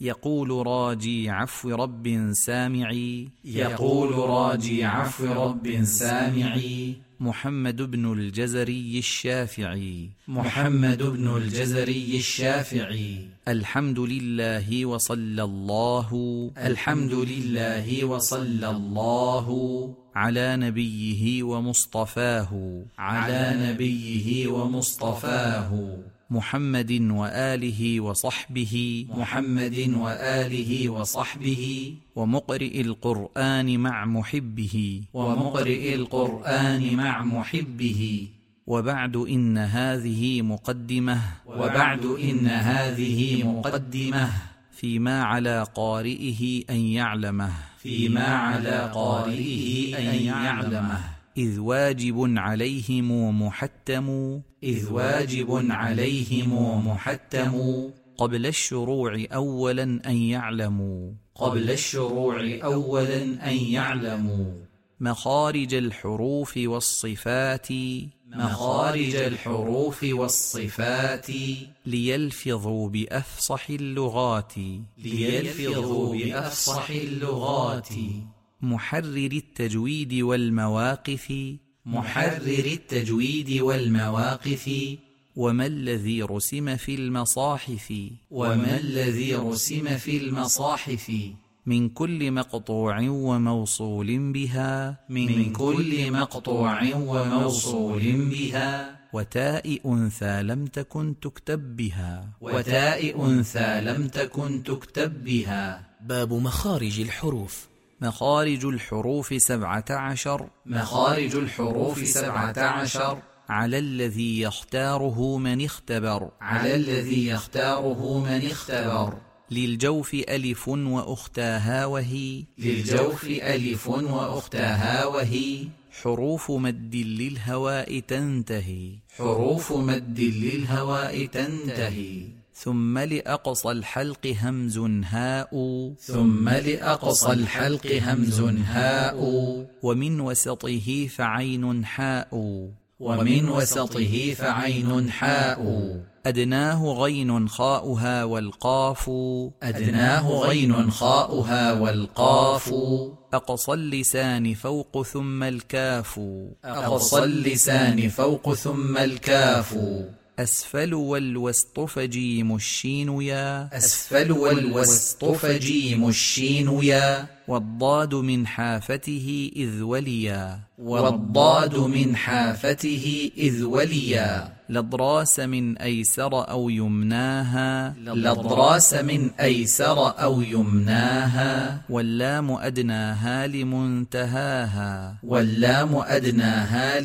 يقول راجي عفو رب سامعي يقول راجي عفو رب سامعي محمد بن الجزري الشافعي محمد بن الجزري الشافعي الحمد لله وصلى الله الحمد لله وصلى الله على نبيه ومصطفاه على نبيه ومصطفاه محمد وآله وصحبه محمد وآله وصحبه ومقرئ القرآن مع محبه ومقرئ القرآن مع محبه وبعد إن هذه مقدمة وبعد إن هذه مقدمة فيما على قارئه أن يعلمه فيما على قارئه أن يعلمه إذ واجب عليهم محتم إذ واجب عليهم محتم قبل الشروع أولا أن يعلموا قبل الشروع أولا أن يعلموا مخارج الحروف والصفات مخارج الحروف والصفات ليلفظوا بأفصح اللغات ليلفظوا بأفصح اللغات محرر التجويد والمواقف محرر التجويد والمواقف وما الذي رسم في المصاحف وما الذي رسم في المصاحف من كل مقطوع وموصول بها من كل مقطوع وموصول بها وتاء أنثى لم تكن تكتب بها وتاء أنثى لم تكن تكتب بها باب مخارج الحروف مخارج الحروف سبعة عشر مخارج الحروف سبعة عشر على الذي يختاره من اختبر على الذي يختاره من اختبر للجوف ألف وأختاها وهي للجوف ألف وأختاها وهي حروف مد للهواء تنتهي حروف مد للهواء تنتهي ثم لأقصى الحلق همز هاء ثم لأقصى الحلق همز هاء ومن وسطه فعين حاء ومن وسطه فعين حاء أدناه غين خاؤها والقاف أدناه غين خاؤها والقاف أقصى اللسان فوق ثم الكاف أقصى اللسان فوق ثم الكاف أسفل والوسط فجيم الشين يا أسفل والوسط فجيم الشين يا والضاد من حافته إذ وليا والضاد من حافته إذ وليا لضراس من أيسر أو يمناها لضراس من أيسر أو يمناها واللام أدناها لمنتهاها واللام أدناها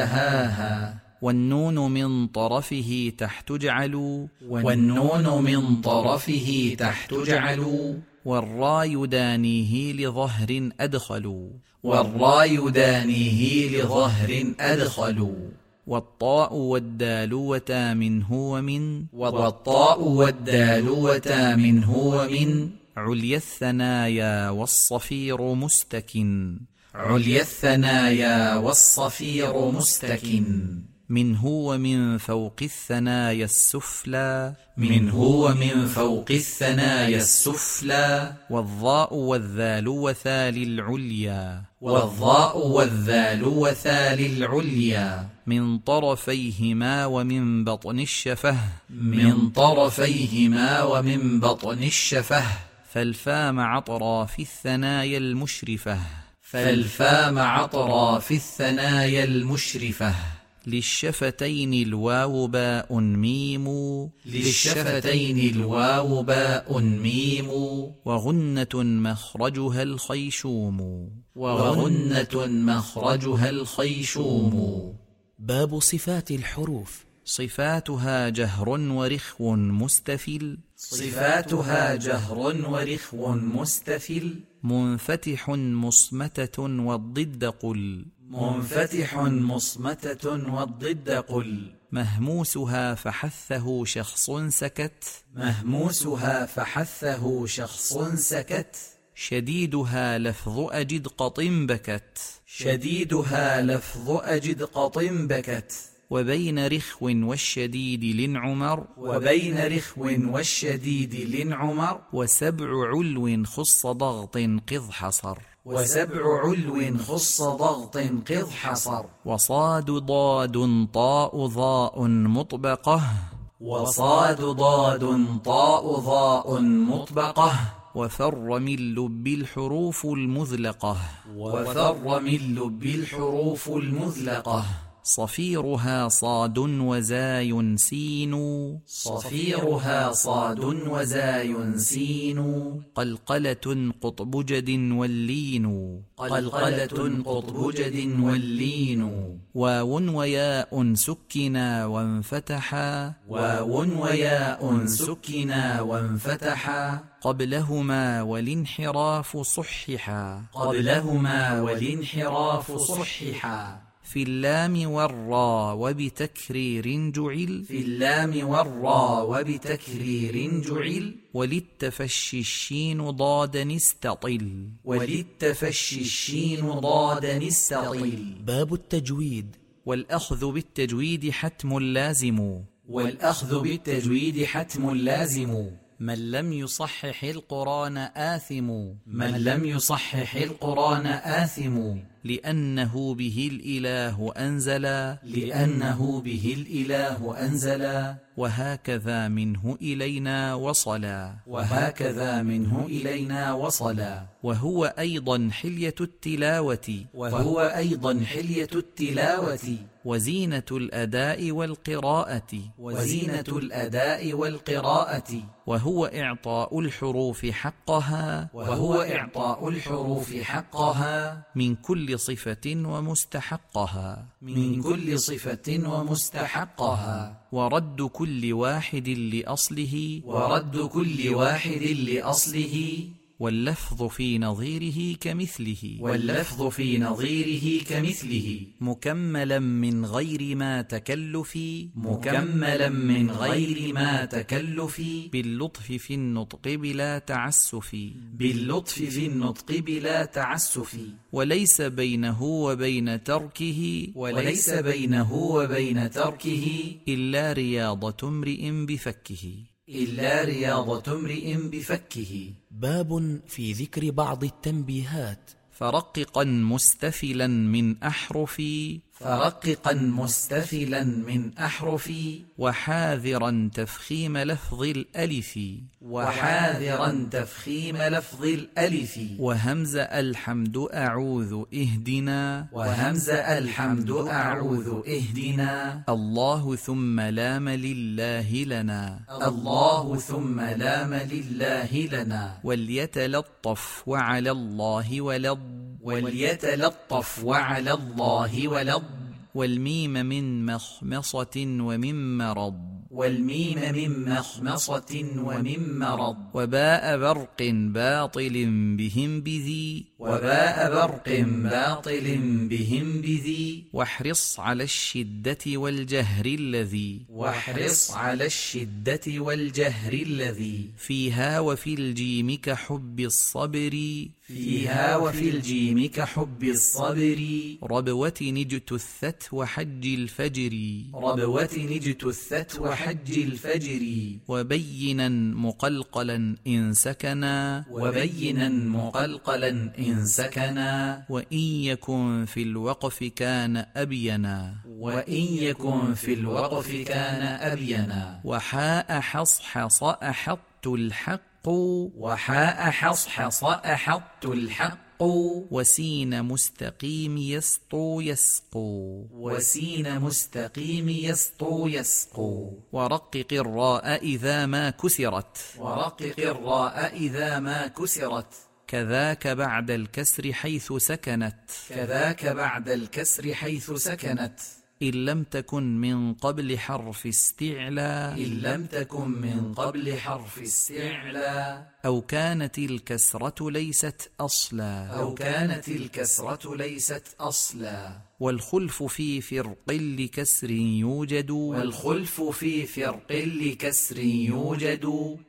لمنتهاها والنون من طرفه تحتجعل والنون من طرفه تحتجعل والرا يدانيه لظهر أدخل والرا يدانيه لظهر أدخل والطاء والدال وتا منه ومن والطاء والدال وتا منه ومن عليا الثنايا والصفير مستكن عليا الثنايا والصفير مستكن من هو من فوق الثنايا السفلى من هو من فوق الثنايا السفلى والضاء والذال وثا للعليا والضاء والذال وثا للعليا من طرفيهما ومن بطن الشفه من طرفيهما ومن بطن الشفه فالفا مع أطراف الثنايا المشرفة فالفا مع أطراف الثنايا المشرفة للشفتين الواو باء ميم للشفتين الواو باء ميم وغنة مخرجها الخيشوم وغنة مخرجها الخيشوم باب صفات الحروف صفاتها جهر ورخو مستفل صفاتها جهر ورخو مستفل منفتح مصمتة والضد قل منفتح مصمتة والضد قل مهموسها فحثه شخص سكت مهموسها فحثه شخص سكت شديدها لفظ أجد قط بكت شديدها لفظ أجد قط بكت وبين رخو والشديد لنعمر وبين رخو والشديد لنعمر وسبع علو خص ضغط قذ حصر وسبع علو خص ضغط قذ حصر وصاد ضاد طاء ظاء مطبقة وصاد ضاد طاء ضاء مطبقة وفر من لب الحروف المذلقة وفر من لب الحروف المذلقة صفيرها صاد وزاي سين صفيرها صاد وزاي سين قلقلة قطب جد واللين قلقلة قطب جد واللين واو وياء سكنا وانفتحا واو وياء سكنا وانفتحا قبلهما والانحراف صححا قبلهما والانحراف صححا في اللام والرا وبتكرير جعل في اللام والرا وبتكرير جعل وللتفشي الشين ضادا استطل وللتفشي الشين ضادا استطل باب التجويد والأخذ بالتجويد حتم لازم والأخذ بالتجويد حتم لازم من لم يصحح القرآن آثم من لم يصحح القرآن آثم لأنه به الإله أنزلا لأنه به الإله أنزلا وهكذا منه إلينا وصلا وهكذا منه إلينا وصلا وهو أيضا حلية التلاوة وهو أيضا حلية التلاوة وزينة الأداء والقراءة وزينة الأداء والقراءة وهو إعطاء الحروف حقها وهو إعطاء الحروف حقها من كل صفة ومستحقها من كل صفة ومستحقها ورد كل واحد لأصله ورد كل واحد لأصله واللفظ في نظيره كمثله واللفظ في نظيره كمثله مكملا من غير ما تكلف مكملا من غير ما تكلف باللطف في النطق بلا تعسف باللطف في النطق بلا تعسف وليس بينه وبين تركه وليس بينه وبين تركه إلا رياضة امرئ بفكه إلا رياضة امرئ بفكه باب في ذكر بعض التنبيهات فرققا مستفلا من أحرف فرققا مستفلا من أحرف وحاذرا تفخيم لفظ الألف وحاذرا تفخيم لفظ الألف وهمز الحمد أعوذ اهدنا وهمز الحمد أعوذ اهدنا الله ثم لام لله لنا الله ثم لام لله لنا وليتلطف وعلى الله ولض وليتلطف وعلى الله ولض والميم من مخمصة ومن مرض والميم من مخمصة ومن مرض وباء برق باطل بهم بذي وباء برق باطل بهم بذي واحرص على الشدة والجهر الذي واحرص على الشدة والجهر الذي فيها وفي الجيم كحب الصبر فيها وفي الجيم كحب الصبر ربوة اجتثت وحج الفجر ربوة اجتثت وحج الفجر وبينا مقلقلا إن سكنا وبينا مقلقلا إن سكنا وإن يكن في الوقف كان أبينا وإن يكن في الوقف كان أبينا وحاء حصحص أحط الحق وحاء حصحص أحط الحق وسين مستقيم يسطو يسقو وسين مستقيم يسطو يسقو ورقق الراء إذا ما كسرت ورقق الراء إذا ما كسرت كذاك بعد الكسر حيث سكنت كذاك بعد الكسر حيث سكنت إن لم تكن من قبل حرف استعلى إن لم تكن من قبل حرف استعلى أو كانت الكسرة ليست أصلا أو كانت الكسرة ليست أصلا والخلف في فرق لكسر يوجد والخلف في فرق لكسر يوجد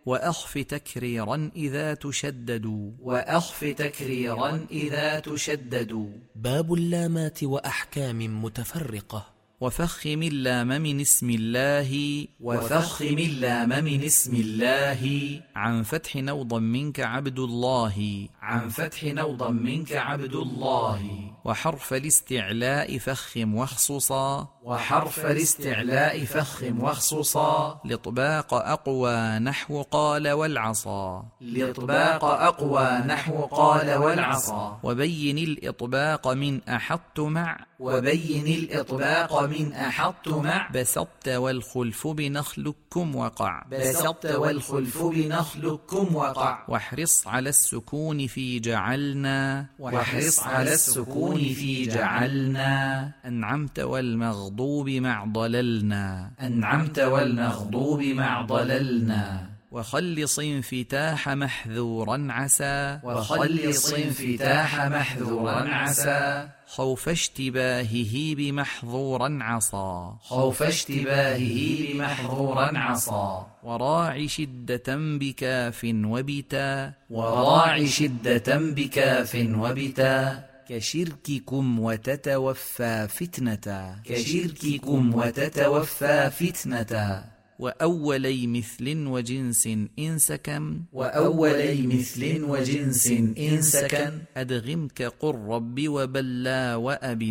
وأخف تكريرا إذا تشدد وأخف تكريرا إذا تشدد باب اللامات وأحكام متفرقة وفخم اللام من اسم الله وفخم اللام من اسم الله عن فتح أو ضمنك عبد الله عن فتح نوضا منك عبد الله وحرف الاستعلاء فخم واخصصا وحرف الاستعلاء فخم واخصصا لطباق أقوى نحو قال والعصا لإطباق أقوى نحو قال والعصا وبين الإطباق من أحط مع وبين الإطباق من أحط مع بسطت والخلف بنخلكم وقع بسطت والخلف بنخلكم وقع واحرص على السكون في جعلنا واحرص على السكون في جعلنا أنعمت والمغضوب مع ضللنا أنعمت والمغضوب مع ضللنا وخلص انفتاح محذورا عسى وخلص انفتاح محذورا عسى خوف اشتباهه بمحظورا عصى خوف اشتباهه بمحظورا عصى وراعي شدة بكاف وبتا وراعي شدة بكاف وبتا كشرككم وتتوفى فتنة كشرككم وتتوفى فتنة وأولي مثل وجنس إن سكن وأولي مثل وجنس إن سكن أدغمك قل رب وبلا وأب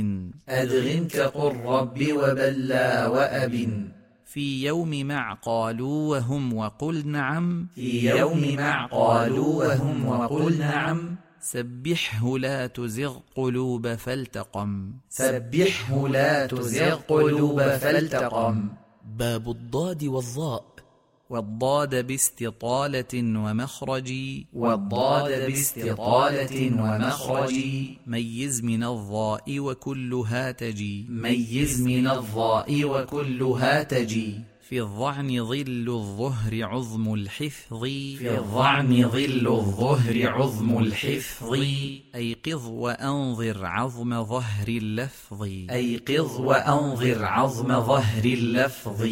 أدغمك قل رب وبلا وأب في يوم مع قالوا وهم وقل نعم في يوم مع قالوا وهم وقل نعم سبحه لا تزغ قلوب فالتقم سبحه لا تزغ قلوب فالتقم باب الضاد والظاء والضاد باستطالة ومخرج والضاد باستطالة ومخرج ميز من الضاء وكلها تجي ميز من الضاء وكلها تجي في الظعن ظل الظهر عظم الحفظ في الظعن ظل الظهر عظم الحفظ أيقظ وأنظر عظم ظهر اللفظ أيقظ وأنظر عظم ظهر اللفظ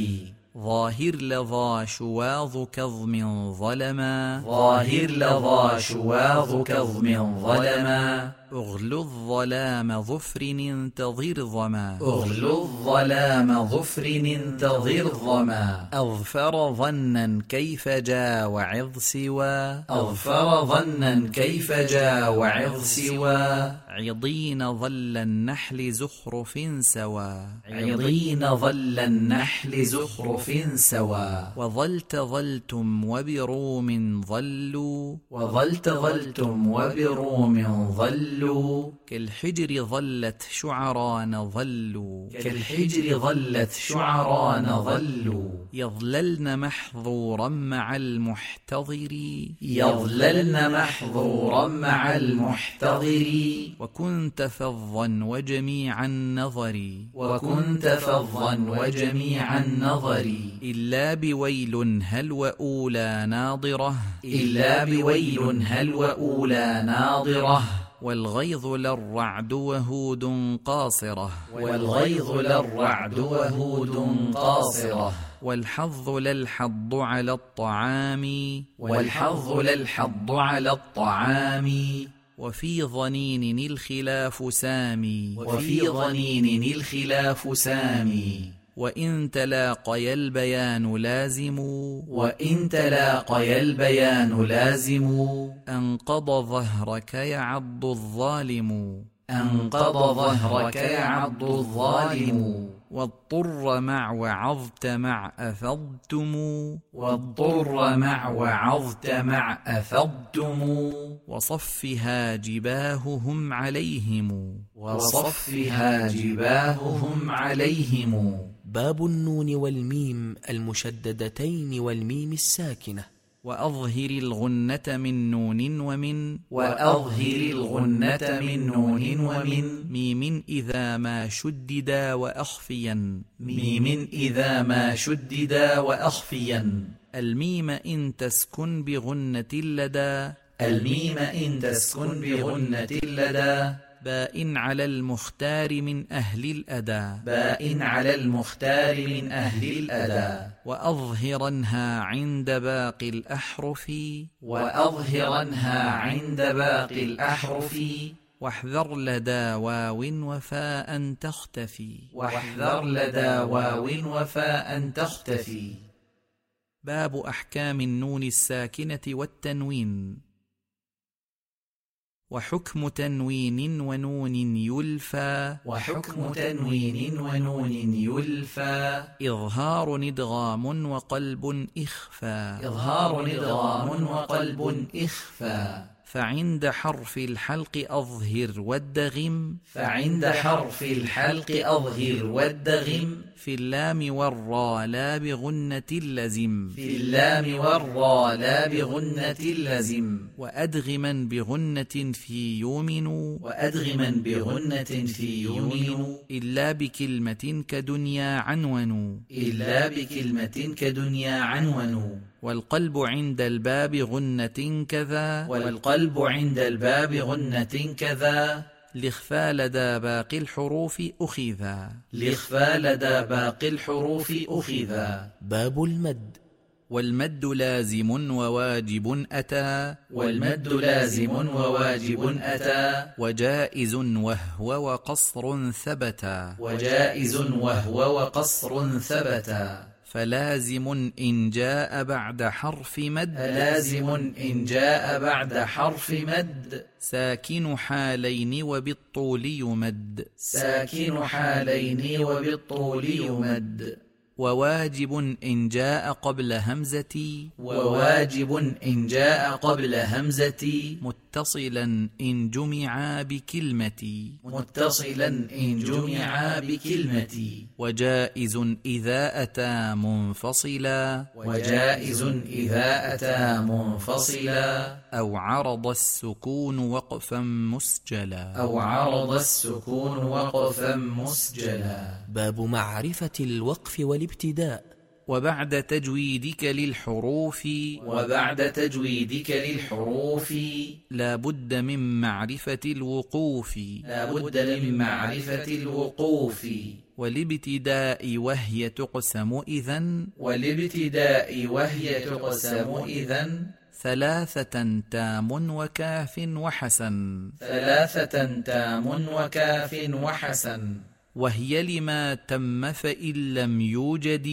ظاهر لظى شواظ كظم ظلما ظاهر لظى شواظ كظم ظلما أغل الظلام ظفر انتظر ظما أغل الظلام ظفر انتظر ظما أظفر ظنا كيف جا وعظ سوى أظفر ظنا كيف جا وعظ سوى عضين ظل النحل زخرف سوى عضين ظل النحل زخرف سوى وظلت ظلتم وبروم ظلوا وظلت ظلتم وبروم ظلوا كالحجر ظلت شعران ظلوا كالحجر ظلت شعران ظلوا يظللن محظورا مع المحتضر يظللن محظورا مع المحتضر وكنت فظا وجميع النظر وكنت فظا وجميع النظر إلا بويل هل وأولى ناضرة إلا بويل هل وأولى ناضرة والغيظ للرعد وهود قاصرة والغيظ للرعد وهود قاصرة والحظ للحض على الطعام والحظ للحض على الطعام وفي ظنين الخلاف سامي وفي ظنين الخلاف سامي وإن تلاقي البيان لازم وإن تلاقي البيان لازم أنقض ظهرك يعض الظالم أنقض ظهرك يعض الظالم واضطر مع وعظت مع أفضتم واضطر مع وعظت مع أفضتم وصفها جباههم عليهم وصفها جباههم عليهم باب النون والميم المشددتين والميم الساكنة وأظهر الغنة من نون ومن وأظهر الغنة من نون ومن ميم إذا ما شددا وأخفيا ميم إذا ما شددا وأخفيا الميم إن تسكن بغنة لدى الميم إن تسكن بغنة لدى باء على المختار من أهل الأدى باء على المختار من أهل الأدى وأظهرنها عند باقي الأحرف وأظهرنها عند باقي الأحرف واحذر لدى واو وفاء تختفي واحذر لدى واو وفاء تختفي باب احكام النون الساكنه والتنوين وحكم تنوين ونون يلفى وحكم تنوين ونون يلفى اظهار ادغام وقلب اخفى إظهار إدغام وقلب إخفى فعند حرف الحلق اظهر وادغم فعند حرف الحلق أظهر وادغم في اللام والراء لا بغنه لزم في اللام والراء لا بغنة لزم وأدغما بغنة في يؤمن وأدغما بغنة في يؤمن إلا بكلمة كدنيا عنون إلا بكلمة كدنيا عنون والقلب عند الباب غنة كذا والقلب عند الباب غنة كذا لخفى لدى باقي الحروف أخذا لإخفى لدى باقي الحروف أخذا باب المد والمد لازم وواجب أتى والمد لازم وواجب أتى وجائز وهو وقصر ثبتا وجائز وهو وقصر ثبتا فلازم إن جاء بعد حرف مد فلازم إن جاء بعد حرف مد ساكن حالين وبالطول يمد ساكن حالين وبالطول يمد وواجب إن جاء قبل همزة وواجب إن جاء قبل همزة متصلا إن جمعا بكلمة متصلا إن جمعا بكلمة وجائز إذا أتى منفصلا وجائز إذا أتى منفصلا أو عرض السكون وقفا مسجلا أو عرض السكون وقفا مسجلا باب معرفة الوقف والابتداء وبعد تجويدك للحروف وبعد تجويدك للحروف لا بد من معرفة الوقوف لا بد من معرفة الوقوف والابتداء وهي تقسم إذا والابتداء وهي تقسم إذا ثلاثة تام وكاف وحسن ثلاثة تام وكاف وحسن وهي لما تم فإن لم يوجد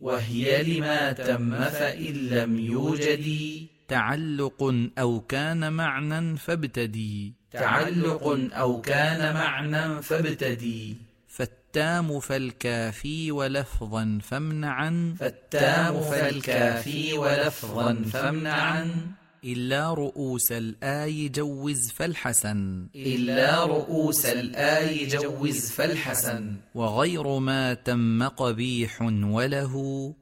وهي لما تم فإن لم يوجد تعلق أو كان معنى فابتدي تعلق أو كان معنى فابتدي فالتام فالكافي ولفظا فامنعا فالتام فالكافي ولفظا فامنعا إلا رؤوس الآي جوز فالحسن إلا رؤوس الآي جوز فالحسن وغير ما تم قبيح وله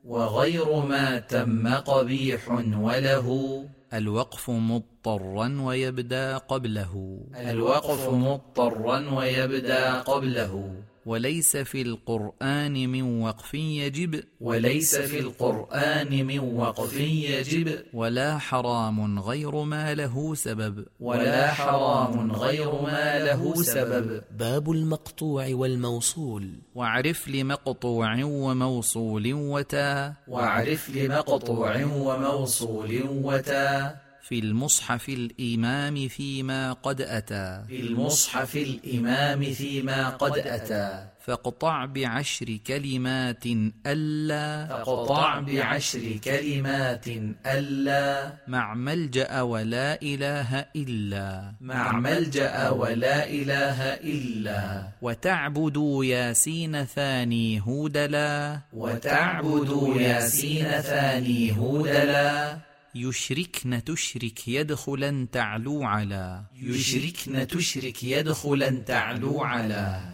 وغير ما تم قبيح وله الوقف مضطرا ويبدا قبله الوقف مضطرا ويبدا قبله وليس في القرآن من وقف يجب وليس في القرآن من وقف يجب ولا حرام غير ما له سبب ولا حرام غير ما له سبب باب المقطوع والموصول واعرف لمقطوع وموصول وتا واعرف لمقطوع وموصول وتا في المصحف الإمام فيما قد أتى في المصحف الإمام فيما قد أتى فاقطع بعشر كلمات ألا فاقطع بعشر كلمات ألا مع ملجأ ولا إله إلا مع ملجأ ولا إله إلا وتعبدوا ياسين ثاني هودلا وتعبد ياسين ثاني هودلا يشركن تشرك يدخلا تعلو على يشركن تشرك يدخلا تعلو على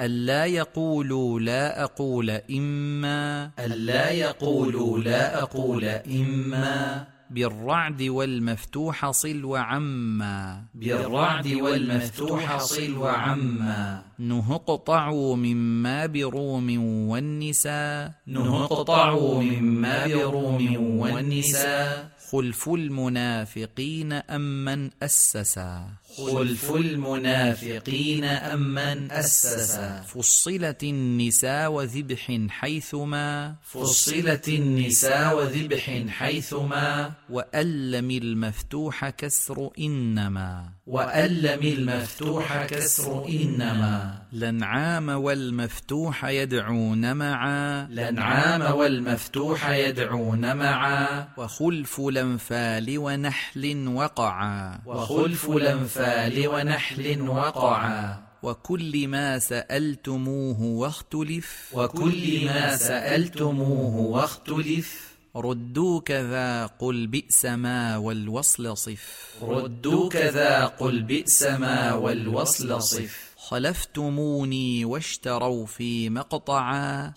ألا يقولوا لا أقول إما ألا يقولوا لا أقول إما بالرعد والمفتوح صل وعما بالرعد والمفتوح صل وعما نه اقطعوا مما بروم والنساء نهقطع مما بروم والنساء خلف المنافقين أمن أسسا خلف المنافقين أمن أسسا فصلت النساء وذبح حيثما فصلت النساء وذبح حيثما وألم المفتوح كسر إنما وألم المفتوح كسر إنما لنعام والمفتوح يدعون معا الأنعام والمفتوح يدعون معا وخلف الأنفال ونحل وقعا وخلف الأنفال ونحل وقعا وكل ما سألتموه واختلف وكل ما سألتموه واختلف ردوا كذا قل بئس ما والوصل صف ردوا كذا قل بئس ما والوصل صف خلفتموني واشتروا في مقطعا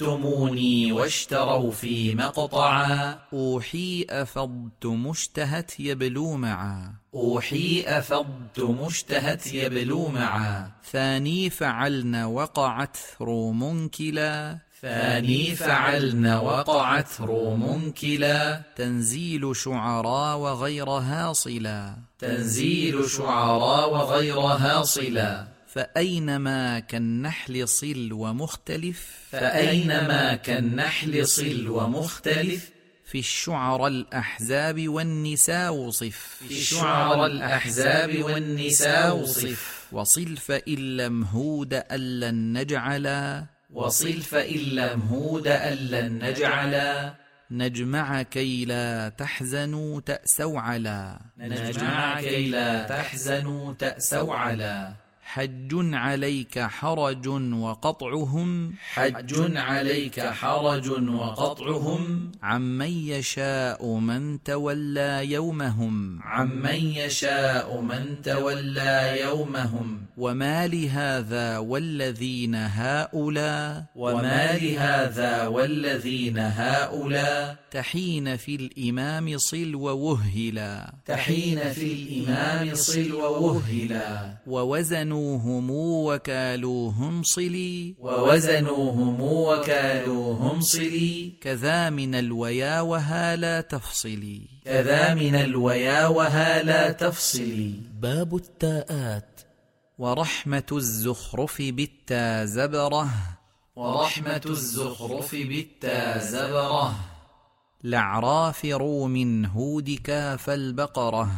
خلفتموني واشتروا في مقطعا أوحي أفضتم اشتهت يبلو معا أوحي أفضتم اشتهت يبلو معا ثاني فعلن وقعت ثرو منكلا ثاني فعلن وقعت روم كلا تنزيل شعرا وغير هاصلا تنزيل شعرا وغيرها صلا فأينما كالنحل صل ومختلف فأينما كالنحل صل ومختلف في الشعر الأحزاب والنساء صف في شعر الأحزاب والنساء صف وصل فإن لم هود ألا نجعلا وصل فإن لم هود ألا نجعلا نجمع كي لا تحزنوا تأسوا على نجمع كي لا تحزنوا تأسوا على حج عليك حرج وقطعهم حج عليك حرج وقطعهم عمن يشاء من تولى يومهم عمن يشاء من تولى يومهم وما لهذا والذين هؤلاء وما لهذا والذين هؤلاء تحين في الإمام صل ووهلا تحين في الإمام صل ووهلا ووزنوهم وكالوهم صلي ووزنوهم وكالوهم صلي كذا من الويا وها لا تفصلي كذا من الويا وها لا تفصلي باب التاءات ورحمة الزخرف بالتا زبرة ورحمة الزخرف بالتا زبرة لعرافر من هودك فالبقرة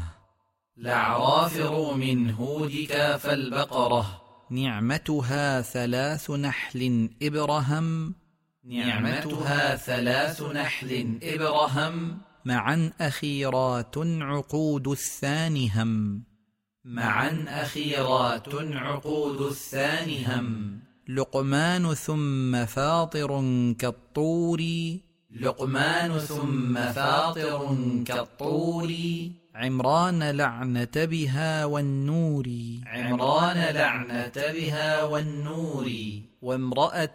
لعرافر من هودك فالبقرة نعمتها ثلاث نحل إبرهم نعمتها ثلاث نحل إبرهم معا أخيرات عقود الثانهم معا أخيرات عقود الثانهم لقمان ثم فاطر كالطور لقمان ثم فاطر كالطور عمران لعنة بها والنور عمران لعنة بها والنور وامرأة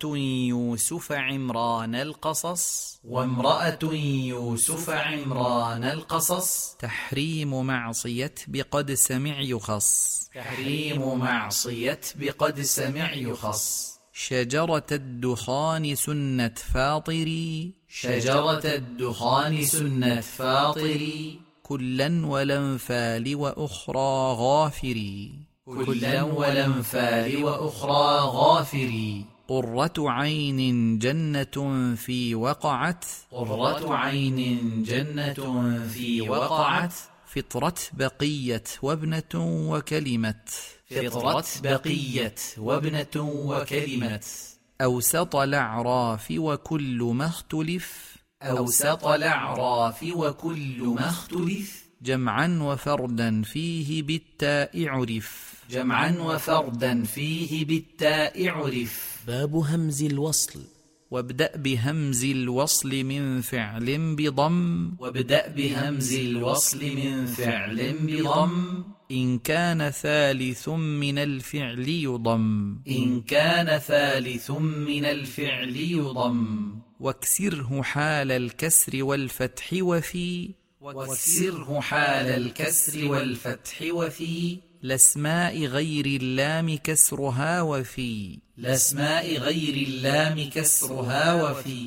يوسف عمران القصص وامرأة يوسف عمران القصص تحريم معصية بقد سمع يخص تحريم معصية بقد سمع يخص شجرة الدخان سنة فاطري شجرة الدخان سنة فاطري كلا والانفال وأخرى غافري كلا والأنفال وأخرى غافري قرة عين جنة في وقعت قرة عين جنة في وقعت فطرت بقيت وابنة وكلمت فطرت بقيت وابنة وكلمت أوسط الأعراف وكل ما اختلف أوسط الأعراف وكل ما اختلف جمعا وفردا فيه بالتاء عرف جمعا وفردا فيه بالتاء عرف باب همز الوصل وابدأ بهمز الوصل من فعل بضم وابدأ بهمز الوصل من فعل بضم إن كان ثالث من الفعل يضم إن كان ثالث من الفعل يضم واكسره حال الكسر والفتح وفي واكسره حال الكسر والفتح وفي لاسماء غير اللام كسرها وفي لاسماء غير اللام كسرها وفي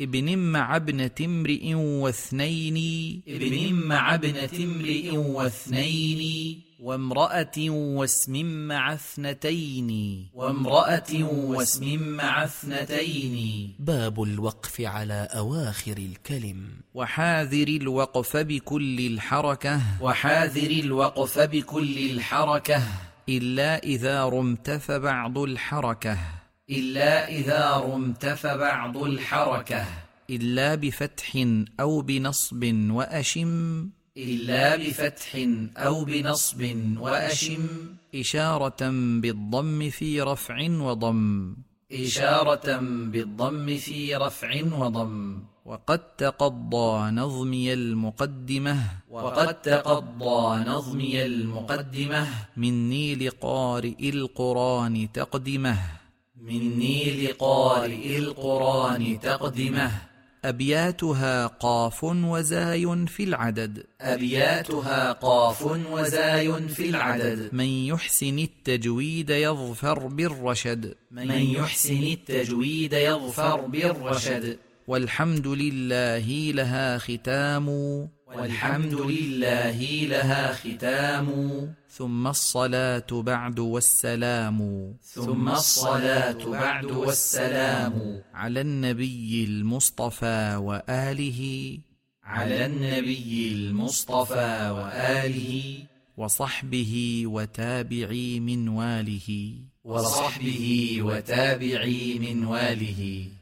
ابن مع ابنة امرئ واثنين ابن مع ابنة امرئ واثنين وامرأة واسم مع اثنتين وامرأة واسم مع اثنتين باب الوقف على أواخر الكلم وحاذر الوقف بكل الحركة وحاذر الوقف بكل الحركة إلا إذا رمت فبعض الحركة إلا إذا رمت فبعض الحركة إلا بفتح أو بنصب وأشم إلا بفتح أو بنصب وأشم إشارة بالضم في رفع وضم إشارة بالضم في رفع وضم وقد تقضى نظمي المقدمة وقد تقضى نظمي المقدمة مني لقارئ القرآن تقدمه مني لقارئ القرآن تقدمه أبياتها قاف وزاي في العدد أبياتها قاف وزاي في العدد من يحسن التجويد يظفر بالرشد من يحسن التجويد يظفر بالرشد والحمد لله لها ختام والحمد لله لها ختام ثم الصلاة بعد والسلام ثم الصلاة بعد والسلام على النبي المصطفى وآله على النبي المصطفى وآله وصحبه وتابعي من واله وصحبه وتابعي من واله